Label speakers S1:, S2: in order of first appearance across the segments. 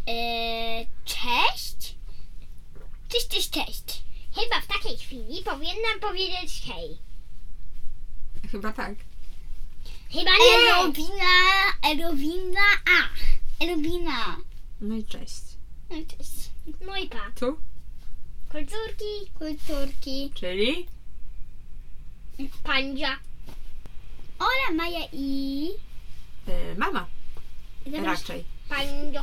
S1: E, powinnam powiedzieć hej.
S2: Chyba tak.
S1: Chyba nie.
S3: Erowina, Erowina, a, Erowina.
S2: No i cześć.
S3: No i cześć.
S1: No i pa.
S2: Tu?
S1: Kulturki,
S3: Kulturki.
S2: Czyli?
S1: pandzia.
S3: Ola, Maja i...
S2: E, mama.
S1: Zamiast
S2: Raczej.
S1: Pandzio.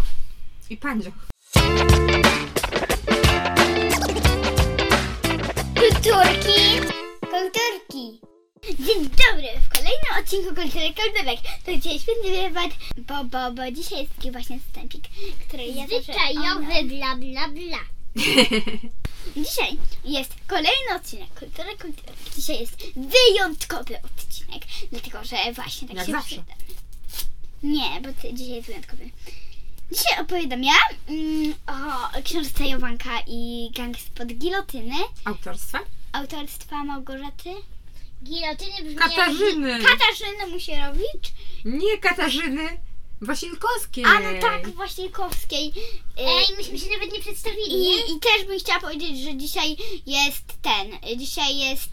S2: I pandzio.
S3: Kulturki. Kulturki. Dzień dobry, w kolejnym odcinku Kultury Koldewek. To dzisiaj świetny wywiad, bo, bo, bo dzisiaj jest taki właśnie wstępik, który ja zawsze-
S1: Zwyczajowy bla bla bla.
S3: Dzisiaj jest kolejny odcinek Kultury Kulturki. Dzisiaj jest wyjątkowy odcinek, dlatego że właśnie tak
S2: Jak
S3: się
S2: zawsze.
S3: przyda. Nie, bo ty, dzisiaj jest wyjątkowy. Dzisiaj opowiadam ja mm, o książce Jowanka i gang spod gilotyny
S2: Autorstwa?
S3: autorstwa Małgorzaty
S1: Gilotyny brzmią...
S2: Katarzyny!
S3: Katarzyny Musierowicz,
S2: Nie Katarzyny! Wasilkowskiej!
S3: a no tak, Wasilkowskiej. Y,
S1: Ej, myśmy się nawet nie przedstawili, nie?
S3: I, I też bym chciała powiedzieć, że dzisiaj jest ten. Dzisiaj jest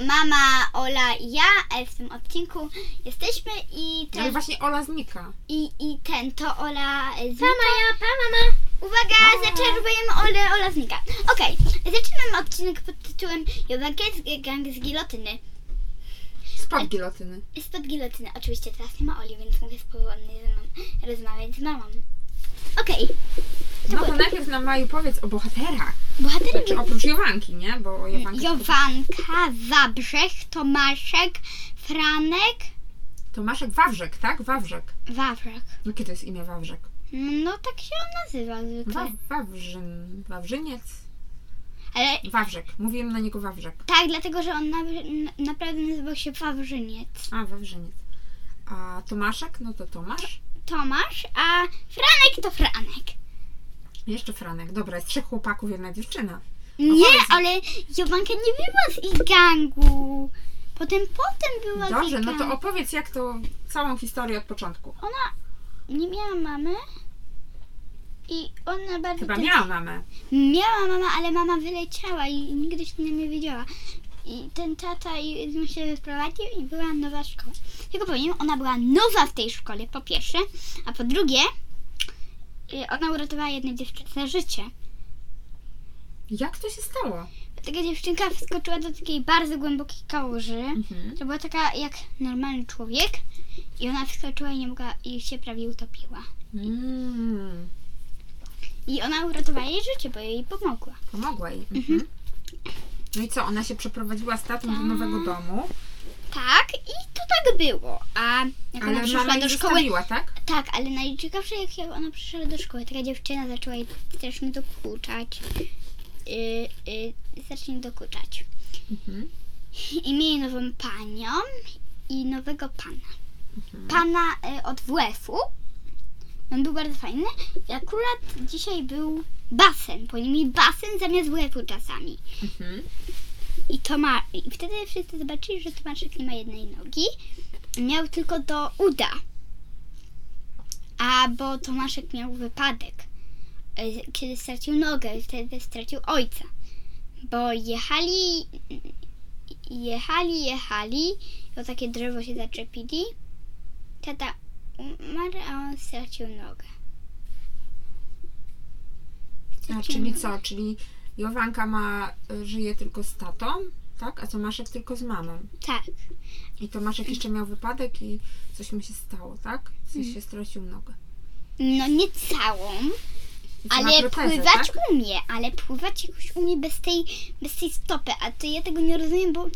S3: mama, Ola i ja e, w tym odcinku jesteśmy i
S1: No
S2: Ale
S3: też
S2: właśnie Ola znika.
S3: i, i ten to Ola e,
S1: Pa
S3: znika.
S1: Maja, pa mama.
S3: Uwaga,
S2: Pa.
S3: zaczerwujemy Olę, Ola znika. Okej, zaczynamy odcinek pod tytułem Jowankiec gang z gilotyny.
S2: Spod gilotyny.
S3: Spod gilotyny. Oczywiście teraz nie ma Oli, więc mogę spokojnie ze mną rozmawiać z mamą. Okej,
S2: No
S3: tak.
S2: to najpierw na Maju powiedz o bohaterach.
S3: bohaterem
S2: Znaczy oprócz Jowanki, nie? Bo Jowanka
S3: Jowanka, Zabrzech, Tomaszek, Franek,
S2: Tomaszek Wawrzek, tak? Wawrzek.
S3: Wawrzek.
S2: No kiedy jest imię Wawrzek?
S3: No tak się on nazywa
S2: Wa-
S3: zwykle.
S2: Wawrzyn. Wawrzyniec.
S3: Ale
S2: Wawrzek. Mówiłem na niego Wawrzek.
S3: tak, dlatego że on na, na, naprawdę nazywał się Wawrzyniec.
S2: A, Wawrzyniec. A Tomaszek? No to Tomasz.
S3: Tomasz, a Franek to Franek.
S2: Jeszcze Franek. Dobra, jest trzech chłopaków, jedna dziewczyna.
S3: Nie, ale Jowanka nie była z ich gangu. Potem, potem była z
S2: Dobrze,
S3: ich
S2: no to
S3: gangu.
S2: opowiedz jak to całą historię od początku.
S3: Ona nie miała mamy. I ona bardzo...
S2: Chyba
S3: tak-
S2: miała mamę.
S3: Miała mama, ale mama wyleciała i nigdy się nie wiedziała. I ten tata i- z nią się wyprowadził i była nowa szkoła. Tylko powiem, ona była nowa w tej szkole, po pierwsze, a po drugie, y, ona uratowała jednej dziewczynce życie.
S2: Jak to się stało?
S3: Taka dziewczynka wskoczyła do takiej bardzo głębokiej kałuży.
S2: Mhm.
S3: To była taka jak normalny człowiek i ona wskoczyła i nie mogła i się prawie utopiła.
S2: Mm,
S3: I ona uratowała jej życie, bo jej pomogła.
S2: pomogła jej. Mhm. No i co, ona się przeprowadziła z tatą do nowego domu,
S3: Tak, i to tak było. A jak ona
S2: ale mama
S3: przyszła
S2: jej
S3: do szkoły,
S2: zostawiła, tak?
S3: Tak, ale najciekawsze jak jak ona przyszła do szkoły, taka dziewczyna zaczęła jej strasznie dokuczać. Yy, yy, strasznie dokuczać.
S2: Mhm.
S3: I mieli nową panią i nowego pana. Pana y, od WF-u. On był bardzo fajny. I akurat dzisiaj był basen. Po nim basen zamiast WF-u czasami.
S2: Mhm.
S3: I, to ma, I wtedy wszyscy zobaczyli, że Tomaszek nie ma jednej nogi. Miał tylko do uda. A bo Tomaszek miał wypadek, y, kiedy stracił nogę, i wtedy stracił ojca. Bo jechali, jechali, jechali, o takie drzewo się zaczepili. Tata umarł, a on stracił nogę.
S2: A, czyli co, czyli Jowanka ma, y, żyje tylko z tatą, tak? A Tomaszek tylko z mamą.
S3: Tak.
S2: I Tomaszek jeszcze miał wypadek i coś mu się stało, tak? Coś
S3: Mhm.
S2: się stracił nogę.
S3: No nie całą,
S2: I co, ma
S3: Ale
S2: protezę,
S3: pływać
S2: tak?
S3: umie, ale pływać jakoś umie bez tej, bez tej stopy, a to ja tego nie rozumiem, bo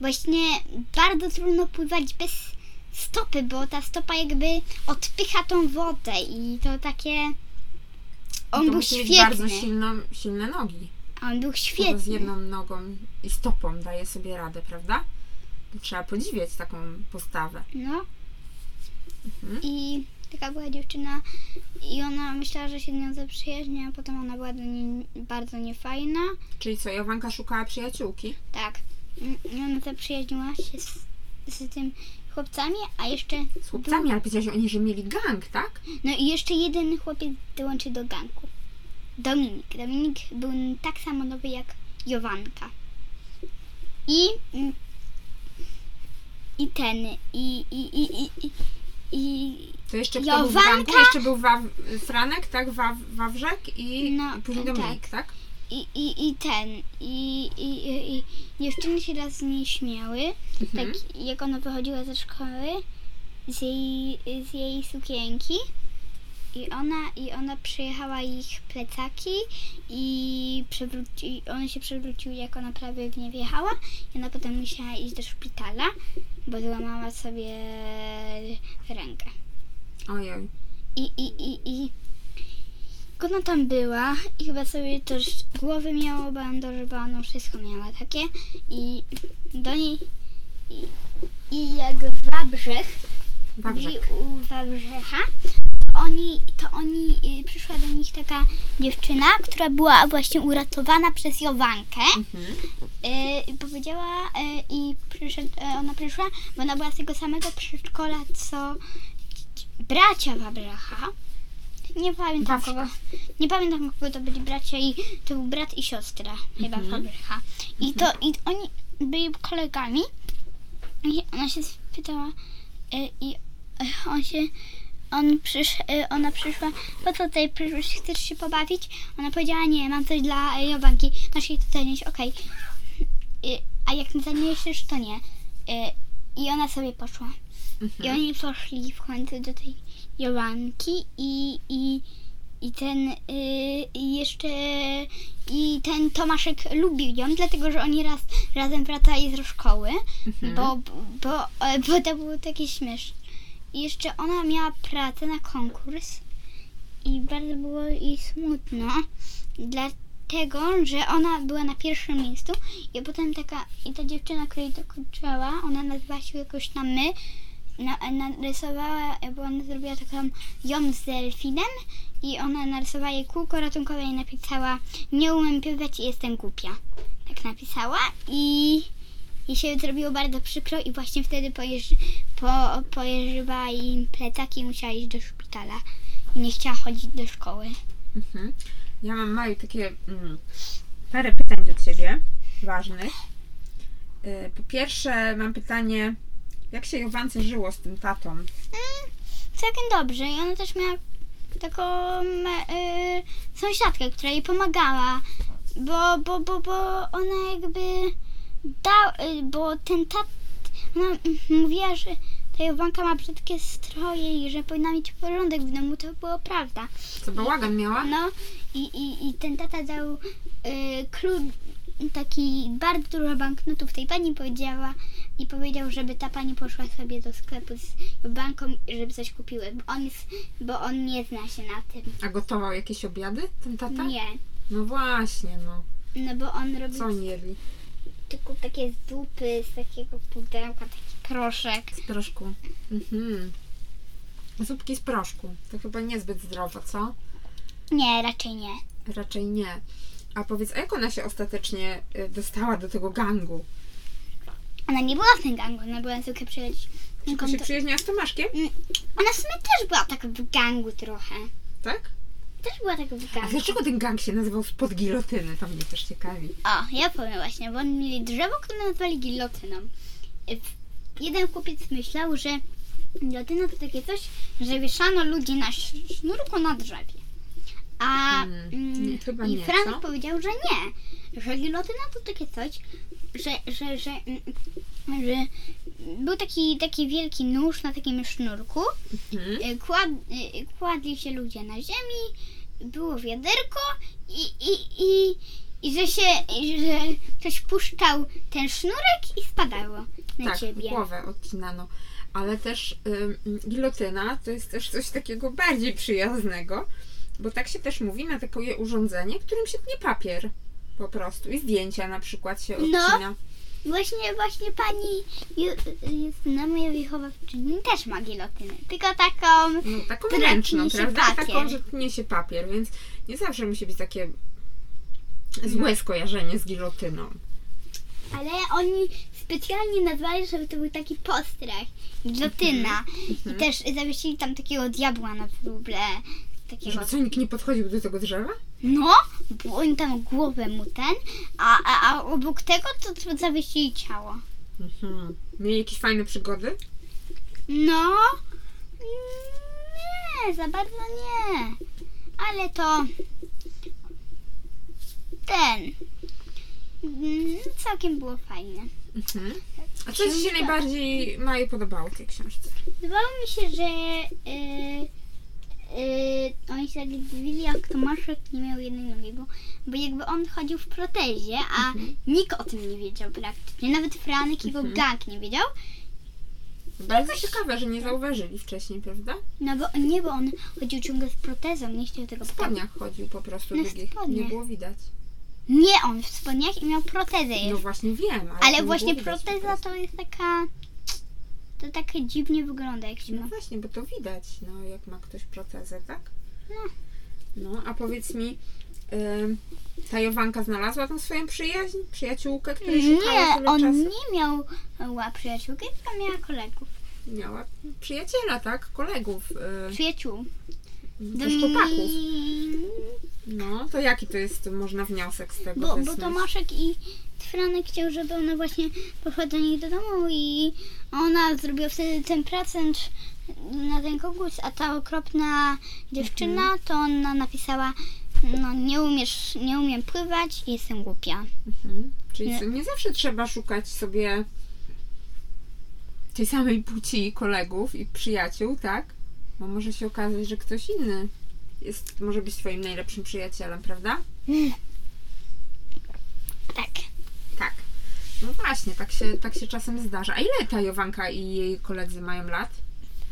S3: właśnie bardzo trudno pływać bez stopy, bo ta stopa jakby odpycha tą wodę i to takie... On
S2: to
S3: był
S2: musi mieć bardzo
S3: świetny,
S2: silną, silne nogi.
S3: a on był
S2: Tylko z
S3: świetny.
S2: jedną nogą i stopą daje sobie radę, prawda? To Trzeba podziwiać taką postawę.
S3: No.
S2: Mhm.
S3: I taka była dziewczyna i ona myślała, że się z nią zaprzyjaźni, a potem ona była do niej bardzo niefajna.
S2: Czyli co, Jowanka szukała przyjaciółki?
S3: Tak. Mm, I ona zaprzyjaźniła się z, z tym chłopcami, a jeszcze.
S2: Z
S3: Tak.
S2: chłopcami, ale powiedziałaś oni, że mieli gang, tak?
S3: No i jeszcze jeden chłopiec dołączy do ganku. Dominik. Dominik był tak samo nowy jak Jowanka. I, mm, i ten, i, i, i, i, i, i
S2: To jeszcze kto był w
S3: Jovanka.
S2: banku? Jeszcze był Waw, Franek, tak? Waw, Wawrzek i
S3: No,
S2: i później
S3: tak.
S2: Dominik, tak?
S3: I, i, i ten, i, i, i, i dziewczyny się raz z niej śmiały,
S2: Mhm.
S3: tak jak ona wychodziła ze szkoły, z jej, z jej sukienki. I ona, I ona przyjechała ich plecaki i przewróci, one się przewróciły, jak ona prawie w nie wjechała. I ona potem musiała iść do szpitala, bo złamała sobie rękę.
S2: Ojej.
S3: I, i, i, i. Jak ona tam była i chyba sobie też głowy miała bandażowaną, wszystko miała takie i do niej i, i jak Wabrzech byli
S2: Wawrzek.
S3: u Wabrzecha, to oni, to oni, y, przyszła do nich taka dziewczyna, która była właśnie uratowana przez Jowankę
S2: Mhm.
S3: y, i powiedziała y, i przyszedł, y, ona przyszła, bo ona była z tego samego przedszkola, co ci- bracia Wabracha. Nie pamiętam
S2: Wawrza.
S3: kogo. Nie pamiętam kogo to byli bracia i to był brat i siostra chyba Wabracha. I to i oni byli kolegami. I ona się spytała y, i y, on się on przysz, y, ona przyszła, po co tutaj przyszłaś, chcesz się pobawić? Ona powiedziała, nie, mam coś dla y, Jowanki, masz jej to zanieść, okej. Y, A jak nie zaniesiesz, to nie. Y, I ona sobie poszła. I oni poszli w końcu do tej Jolanki i, i, i ten y, i jeszcze i ten Tomaszek lubił ją, dlatego że oni raz razem wracali ze szkoły, bo, bo, e, bo to było takie śmieszne. I jeszcze ona miała pracę na konkurs i bardzo było jej smutno, dlatego że ona była na pierwszym miejscu i potem taka i ta dziewczyna, której to kończyła, ona nazywała się jakoś na my, na, narysowała, bo ona zrobiła taką ją z delfinem i ona narysowała jej kółko ratunkowe i napisała nie umiem pływać i jestem głupia. Tak napisała i jej się zrobiło bardzo przykro i właśnie wtedy pojeżdż, po, pojeżdżała im plecak i musiała iść do szpitala. I nie chciała chodzić do szkoły.
S2: Mhm. Ja mam Maju takie mm, parę pytań do Ciebie, ważnych. Y, Po pierwsze mam pytanie, jak się Jowance żyło z tym tatą?
S3: Całkiem dobrze i ona też miała taką e, sąsiadkę, która jej pomagała, bo, bo, bo, bo ona jakby dał, y, bo ten tat, ona mm, mówiła, że ta Jowanka ma brzydkie stroje i że powinna mieć porządek w domu, to było prawda.
S2: Co bałagan miała?
S3: No i, i, i ten tata dał y, klucz, taki bardzo dużo banknotów tej pani powiedziała i powiedział, żeby ta pani poszła sobie do sklepu z banką, żeby coś kupiły, bo on, jest, bo on nie zna się na tym.
S2: A gotował jakieś obiady ten tata?
S3: Nie,
S2: No właśnie, no.
S3: no bo on robi
S2: Co oni jedli?
S3: tylko takie zupy z takiego pudełka, taki proszek.
S2: Z proszku. Mhm. Zupki z proszku. To chyba niezbyt zdrowo, co?
S3: Nie, raczej nie.
S2: Raczej nie. A powiedz, a jak ona się ostatecznie y, dostała do tego gangu?
S3: Ona nie była w tym gangu, ona była tylko przyjaciół.
S2: Tylko się przyjaźniła z Tomaszkiem,
S3: Ona w sumie też była tak w gangu trochę.
S2: tak?
S3: Też była tak w
S2: A
S3: gangu.
S2: dlaczego ten gang się nazywał spod gilotyny? To mnie też ciekawi.
S3: O, ja powiem właśnie, bo oni mieli drzewo, które nazwali gilotyną. Y, Jeden kupiec myślał, że gilotyna to takie coś, że wieszano ludzi na sz- sznurku na drzewie. A
S2: Mm,
S3: mm,
S2: nie, chyba
S3: i
S2: nie,
S3: Franek
S2: co?
S3: powiedział, że nie, że gilotyna to takie coś, że, że, że, mm, że był taki, taki wielki nóż na takim sznurku,
S2: Mhm.
S3: y, kład, y, kładli się ludzie na ziemi, było wiaderko i, i, i, i że się, i że ktoś puszczał ten sznurek i spadało na
S2: Tak,
S3: ciebie.
S2: głowę odcinano. Ale też ym, gilotyna to jest też coś takiego bardziej przyjaznego, bo tak się też mówi na takie urządzenie, którym się tnie papier po prostu i zdjęcia na przykład się
S3: No.
S2: odcina.
S3: Właśnie, właśnie pani Ju- Justyna, moja wychowawczyni, też ma gilotynę, tylko taką...
S2: No, taką
S3: Tyle
S2: ręczną,
S3: tnie się
S2: prawda? Taką,
S3: papier.
S2: że tnie się papier, więc nie zawsze musi być takie
S3: No.
S2: złe skojarzenie z gilotyną.
S3: Ale oni specjalnie nazwali, żeby to był taki
S2: Mhm.
S3: postrach, gilotyna. I też zawiesili tam takiego diabła na wróble. takiego.
S2: Że co, nikt nie podchodził do tego drzewa?
S3: No, bo on tam głowę mu ten, a, a, a obok tego to, to zawiesili ciało.
S2: Mhm. Mieli jakieś fajne przygody?
S3: No, nie, za bardzo nie. Ale to ten. mm, Całkiem było fajne.
S2: Mhm. A co Ci się najbardziej Maju podobało w tej książce?
S3: Wydawało mi się, że y, y, oni się tak dziwili, jak Tomaszek nie miał jednej nogi, bo, bo jakby on chodził w protezie, a nikt o tym nie wiedział praktycznie. Nawet Franek i jego
S2: Mhm.
S3: gang nie wiedział.
S2: Bardzo ciekawe, że nie zauważyli wcześniej, prawda?
S3: No bo nie, bo on chodził ciągle z protezą, nie chciał tego
S2: W spodniach chodził po prostu
S3: Tak. Na
S2: długich. Nie
S3: spodniach.
S2: było widać.
S3: Nie, on w spodniach i miał protezę
S2: No
S3: jeszcze.
S2: właśnie wiem, ale, to
S3: Ale
S2: nie
S3: właśnie
S2: było widać po
S3: proteza
S2: prostu.
S3: to jest taka... To takie dziwnie wygląda, jak się ma.
S2: No właśnie, bo to widać, no jak ma ktoś protezę, tak?
S3: No.
S2: No, a powiedz mi, ym, ta Jowanka znalazła tą swoją przyjaźń? Przyjaciółkę, której szukała
S3: Nie,
S2: tyle
S3: on
S2: czasu?
S3: nie miał e, przyjaciółki, tylko miała kolegów.
S2: Miała przyjaciela, tak? Kolegów, yy,
S3: Przyjaciół. Mm.
S2: też chłopaków.
S3: Domin-
S2: No, to jaki to jest, można wniosek z tego
S3: Bo, bo
S2: wysnuć?
S3: Tomaszek i Franek chciał, żeby ona właśnie poszła do nich do domu i ona zrobiła wtedy ten prezent na ten kogut, a ta okropna dziewczyna,
S2: Mhm.
S3: to ona napisała no nie umiesz, nie umiem pływać, jestem głupia.
S2: Mhm. Czyli
S3: Nie.
S2: nie. nie zawsze trzeba szukać sobie tej samej płci kolegów i przyjaciół, tak? Bo może się okazać, że ktoś inny jest, może być twoim najlepszym przyjacielem, prawda?
S3: Tak.
S2: Tak. No właśnie, tak się, tak się czasem zdarza. A ile ta Jowanka i jej koledzy mają lat?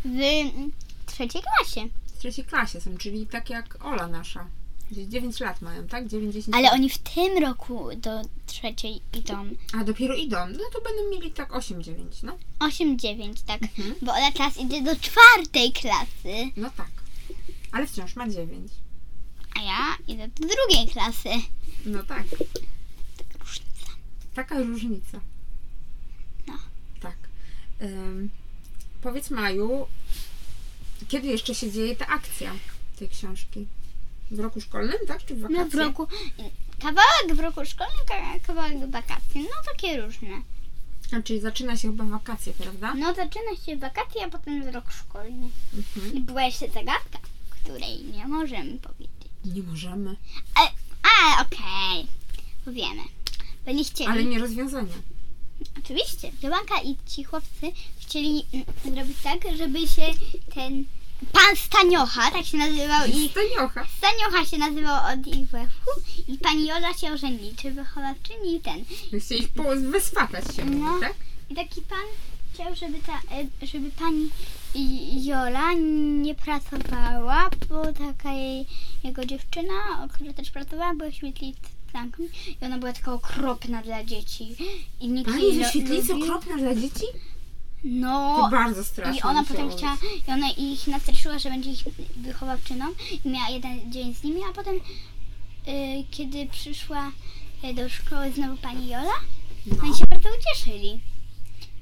S3: W trzeciej klasie.
S2: W trzeciej klasie są, czyli tak jak Ola nasza. Gdzieś 9 lat mają, tak? 9, 10
S3: Ale
S2: lat.
S3: oni w tym roku do trzeciej idą.
S2: A dopiero idą. No to będą mieli tak 8-9, no.
S3: 8-9, tak.
S2: Mhm.
S3: Bo ona teraz idzie do czwartej klasy,
S2: No tak. Ale wciąż ma 9.
S3: a ja idę do drugiej klasy.
S2: No tak.
S3: Różnica.
S2: Taka różnica.
S3: No.
S2: Tak. Ym, powiedz Maju, kiedy jeszcze się dzieje ta akcja tej książki? W roku szkolnym, tak? Czy w wakacje?
S3: No w roku. Kawałek w roku szkolnym, ka- kawałek w wakacji. No takie różne.
S2: A, czyli zaczyna się chyba wakacje, prawda?
S3: No zaczyna się wakacje, a potem rok szkolny.
S2: Mhm.
S3: I była jeszcze zagadka, której nie możemy powiedzieć.
S2: Nie możemy.
S3: A, okej. Powiemy. Byliście.
S2: Ale nie rozwiązania.
S3: Oczywiście, Jolanka i ci chłopcy chcieli mm, zrobić tak, żeby się ten pan Staniocha, tak się nazywał ich
S2: I staniocha.
S3: Staniocha się nazywał od IWF-u i pani Jola się ożeni, czy wychowawczyni i ten.
S2: Chcieli po- wyswatać się,
S3: No.
S2: mówi, tak?
S3: I taki pan chciał, żeby, ta, e, żeby pani I- Jola nie pracowała, bo taka jej, jego dziewczyna, o- która też pracowała, była świetlicą i ona była taka okropna dla dzieci. I no, nikt
S2: Pani
S3: jej
S2: ze
S3: lo-
S2: świetlicy
S3: lubił.
S2: okropna dla dzieci? To
S3: No,
S2: bardzo straszne.
S3: I ona
S2: mi się
S3: potem
S2: robi.
S3: chciała, i ona ich nastraszyła, że będzie ich wychowawczyną i miała jeden dzień z nimi, a potem y, kiedy przyszła y, do szkoły znowu pani Jola,
S2: No.
S3: oni się bardzo ucieszyli.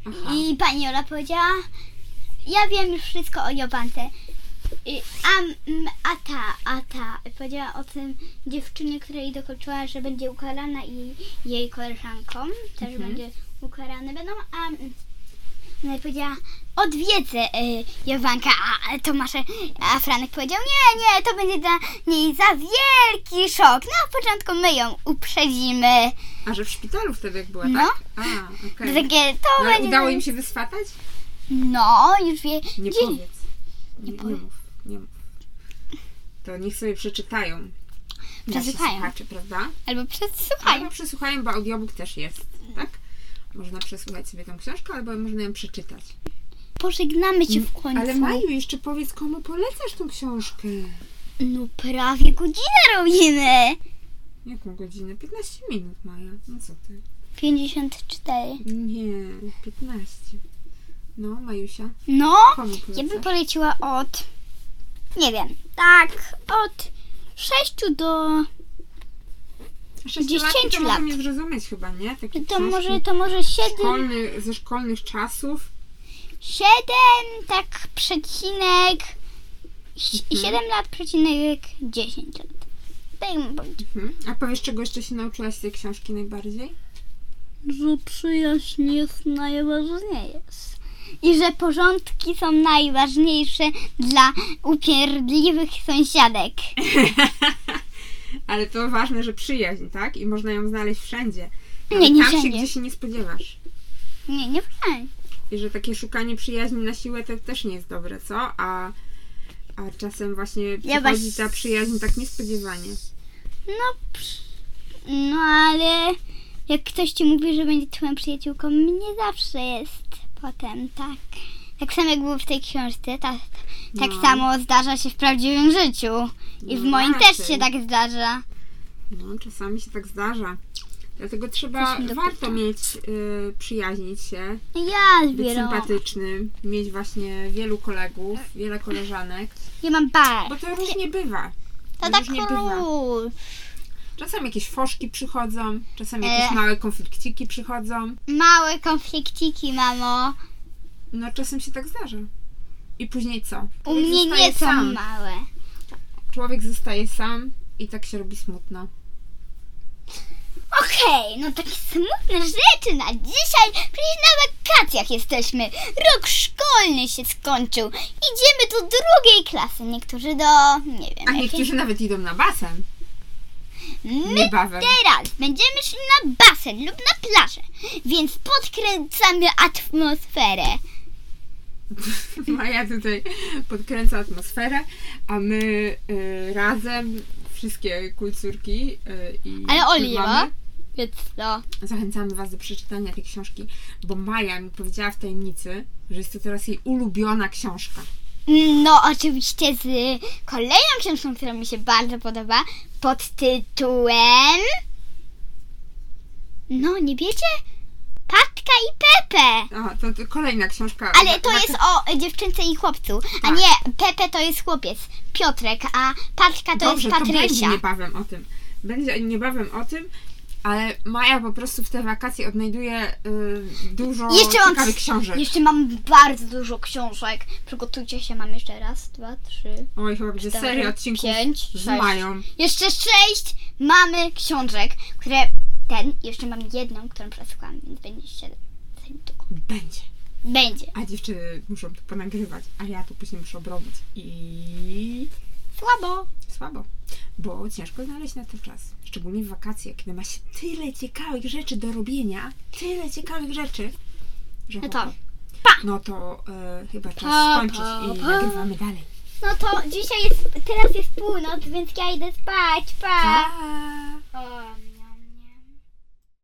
S2: Aha.
S3: I pani Jola powiedziała, ja wiem już wszystko o Jobance. I- A, m- a ta, a ta powiedziała o tym dziewczynie, której dokończyła, że będzie ukarana i jej koleżankom też
S2: Mhm.
S3: będzie ukarane będą, a mm, no i powiedziała odwiedzę y, Jowanka, a a Tomasze, a Franek powiedział nie, nie, to będzie dla niej za wielki szok. Na początku my ją uprzedzimy.
S2: A że w szpitalu wtedy jak była,
S3: No.
S2: tak? A, okej.
S3: Takie, to
S2: No, ale
S3: będzie
S2: udało
S3: dla-
S2: im się wyswatać?
S3: No, już wie.
S2: Nie
S3: dzień-
S2: powiedz. Nie, nie
S3: powiem.
S2: mów, nie mów. To niech sobie przeczytają. Nasi
S3: Przeczytają. Tak.
S2: słuchacze, prawda?
S3: Albo
S2: Albo
S3: przesłuchaj.
S2: przesłuchają, bo audiobook też jest, tak? Można przesłuchać sobie tą książkę, albo można ją przeczytać.
S3: Pożegnamy cię w końcu.
S2: Ale Maju, jeszcze powiedz, komu polecasz tą książkę?
S3: No prawie godzinę robimy.
S2: Jaką godzinę? 15 minut, Maja. No co ty?
S3: 54.
S2: Nie, 15. No, Majusia,
S3: No,
S2: komu polecasz?
S3: ja bym poleciła od. Nie wiem. Tak, od 6 do
S2: Sześciolatki
S3: 10
S2: to
S3: lat.
S2: mogą nie zrozumieć chyba, nie? Takie
S3: To
S2: książki
S3: może, to może 7,
S2: szkolny, ze szkolnych czasów.
S3: 7 tak przecinek
S2: Mhm.
S3: 7 lat przecinek 10 lat. Tak mu powiedzieć.
S2: Mhm. A powiesz, czego jeszcze się nauczyłaś z tej książki najbardziej?
S3: Że przyjaźń jest najważniejsza. I że porządki są najważniejsze dla upierdliwych sąsiadek.
S2: Ale to ważne, że przyjaźń, tak? I można ją znaleźć wszędzie.
S3: Nie,
S2: Nawet
S3: nie
S2: tam się,
S3: wszędzie.
S2: gdzie się nie spodziewasz.
S3: Nie, nie wiem.
S2: I że takie szukanie przyjaźni na siłę to też nie jest dobre, co? A, a czasem właśnie przychodzi
S3: was-
S2: ta przyjaźń tak niespodziewanie.
S3: No, psz- no ale jak ktoś ci mówi, że będzie twoją przyjaciółką, nie zawsze jest potem tak. Tak samo jak było w tej książce, tak, tak
S2: No.
S3: samo zdarza się w prawdziwym życiu. I w
S2: No
S3: moim też
S2: raczej.
S3: się tak zdarza.
S2: No, czasami się tak zdarza. Dlatego trzeba,
S3: Coś mi dokucza.
S2: warto mieć, y, przyjaźnić się,
S3: Ja
S2: być
S3: zbieram.
S2: sympatycznym, mieć właśnie wielu kolegów, wiele koleżanek,
S3: Ja mam bar.
S2: bo to różnie bywa.
S3: Znaczy, To tak
S2: różnie bywa.
S3: król.
S2: Czasem jakieś foszki przychodzą, czasem
S3: E.
S2: jakieś małe konflikciki przychodzą.
S3: Małe konflikciki, mamo.
S2: No, czasem się tak zdarza. I później co?
S3: U
S2: Człowiek
S3: mnie
S2: zostaje
S3: nie są
S2: sam.
S3: małe.
S2: Człowiek zostaje sam i tak się robi smutno.
S3: Okej, no takie smutne rzeczy na dzisiaj. Przecież na wakacjach jesteśmy. Rok szkolny się skończył. Idziemy do drugiej klasy. Niektórzy do, nie wiem,
S2: A
S3: jakiej-
S2: niektórzy nawet idą na basen
S3: My
S2: niebawem.
S3: teraz będziemy szli na basen lub na plażę, więc podkręcamy atmosferę.
S2: Maja tutaj podkręca atmosferę, a my y, razem wszystkie kulturki y, i
S3: Ale Oliwa?
S2: mamy.
S3: Więc co?
S2: Zachęcamy Was do przeczytania tej książki, bo Maja mi powiedziała w tajemnicy, że jest to teraz jej ulubiona książka.
S3: No oczywiście z kolejną książką, która mi się bardzo podoba, pod tytułem... No, nie wiecie? Patka i Pepe.
S2: A, to, to kolejna książka.
S3: Ale to jest o dziewczynce i chłopcu. A
S2: Tak.
S3: nie, Pepe to jest chłopiec, Piotrek, a Patka to
S2: Dobrze,
S3: jest
S2: to będzie
S3: Patrysia.
S2: niebawem o tym. Będzie niebawem o tym, ale Maja po prostu w te wakacje odnajduje y, dużo
S3: Jeszcze mam,
S2: ciekawych książek.
S3: jeszcze mam bardzo dużo książek. Przygotujcie się, mam jeszcze raz, dwa, trzy,
S2: Oj, chyba będzie
S3: cztery,
S2: seria odcinków
S3: pięć,
S2: z
S3: sześć.
S2: Mają.
S3: Jeszcze sześć mamy książek, które ten, jeszcze mam jedną, którą przesłuchałam, więc będzie siedem.
S2: Będzie.
S3: Będzie.
S2: A dziewczyny muszą to ponagrywać, a ja to później muszę obrobić. I
S3: Słabo.
S2: słabo, bo ciężko znaleźć na to czas. Szczególnie w wakacje, kiedy ma się tyle ciekawych rzeczy do robienia, tyle ciekawych rzeczy, że
S3: No
S2: chłopie,
S3: to,
S2: no to e, chyba czas
S3: Pa,
S2: skończyć
S3: pa,
S2: i
S3: pa.
S2: nagrywamy dalej. Tak.
S3: no to dzisiaj jest, teraz jest północ, więc ja idę spać, pa.
S2: Pa!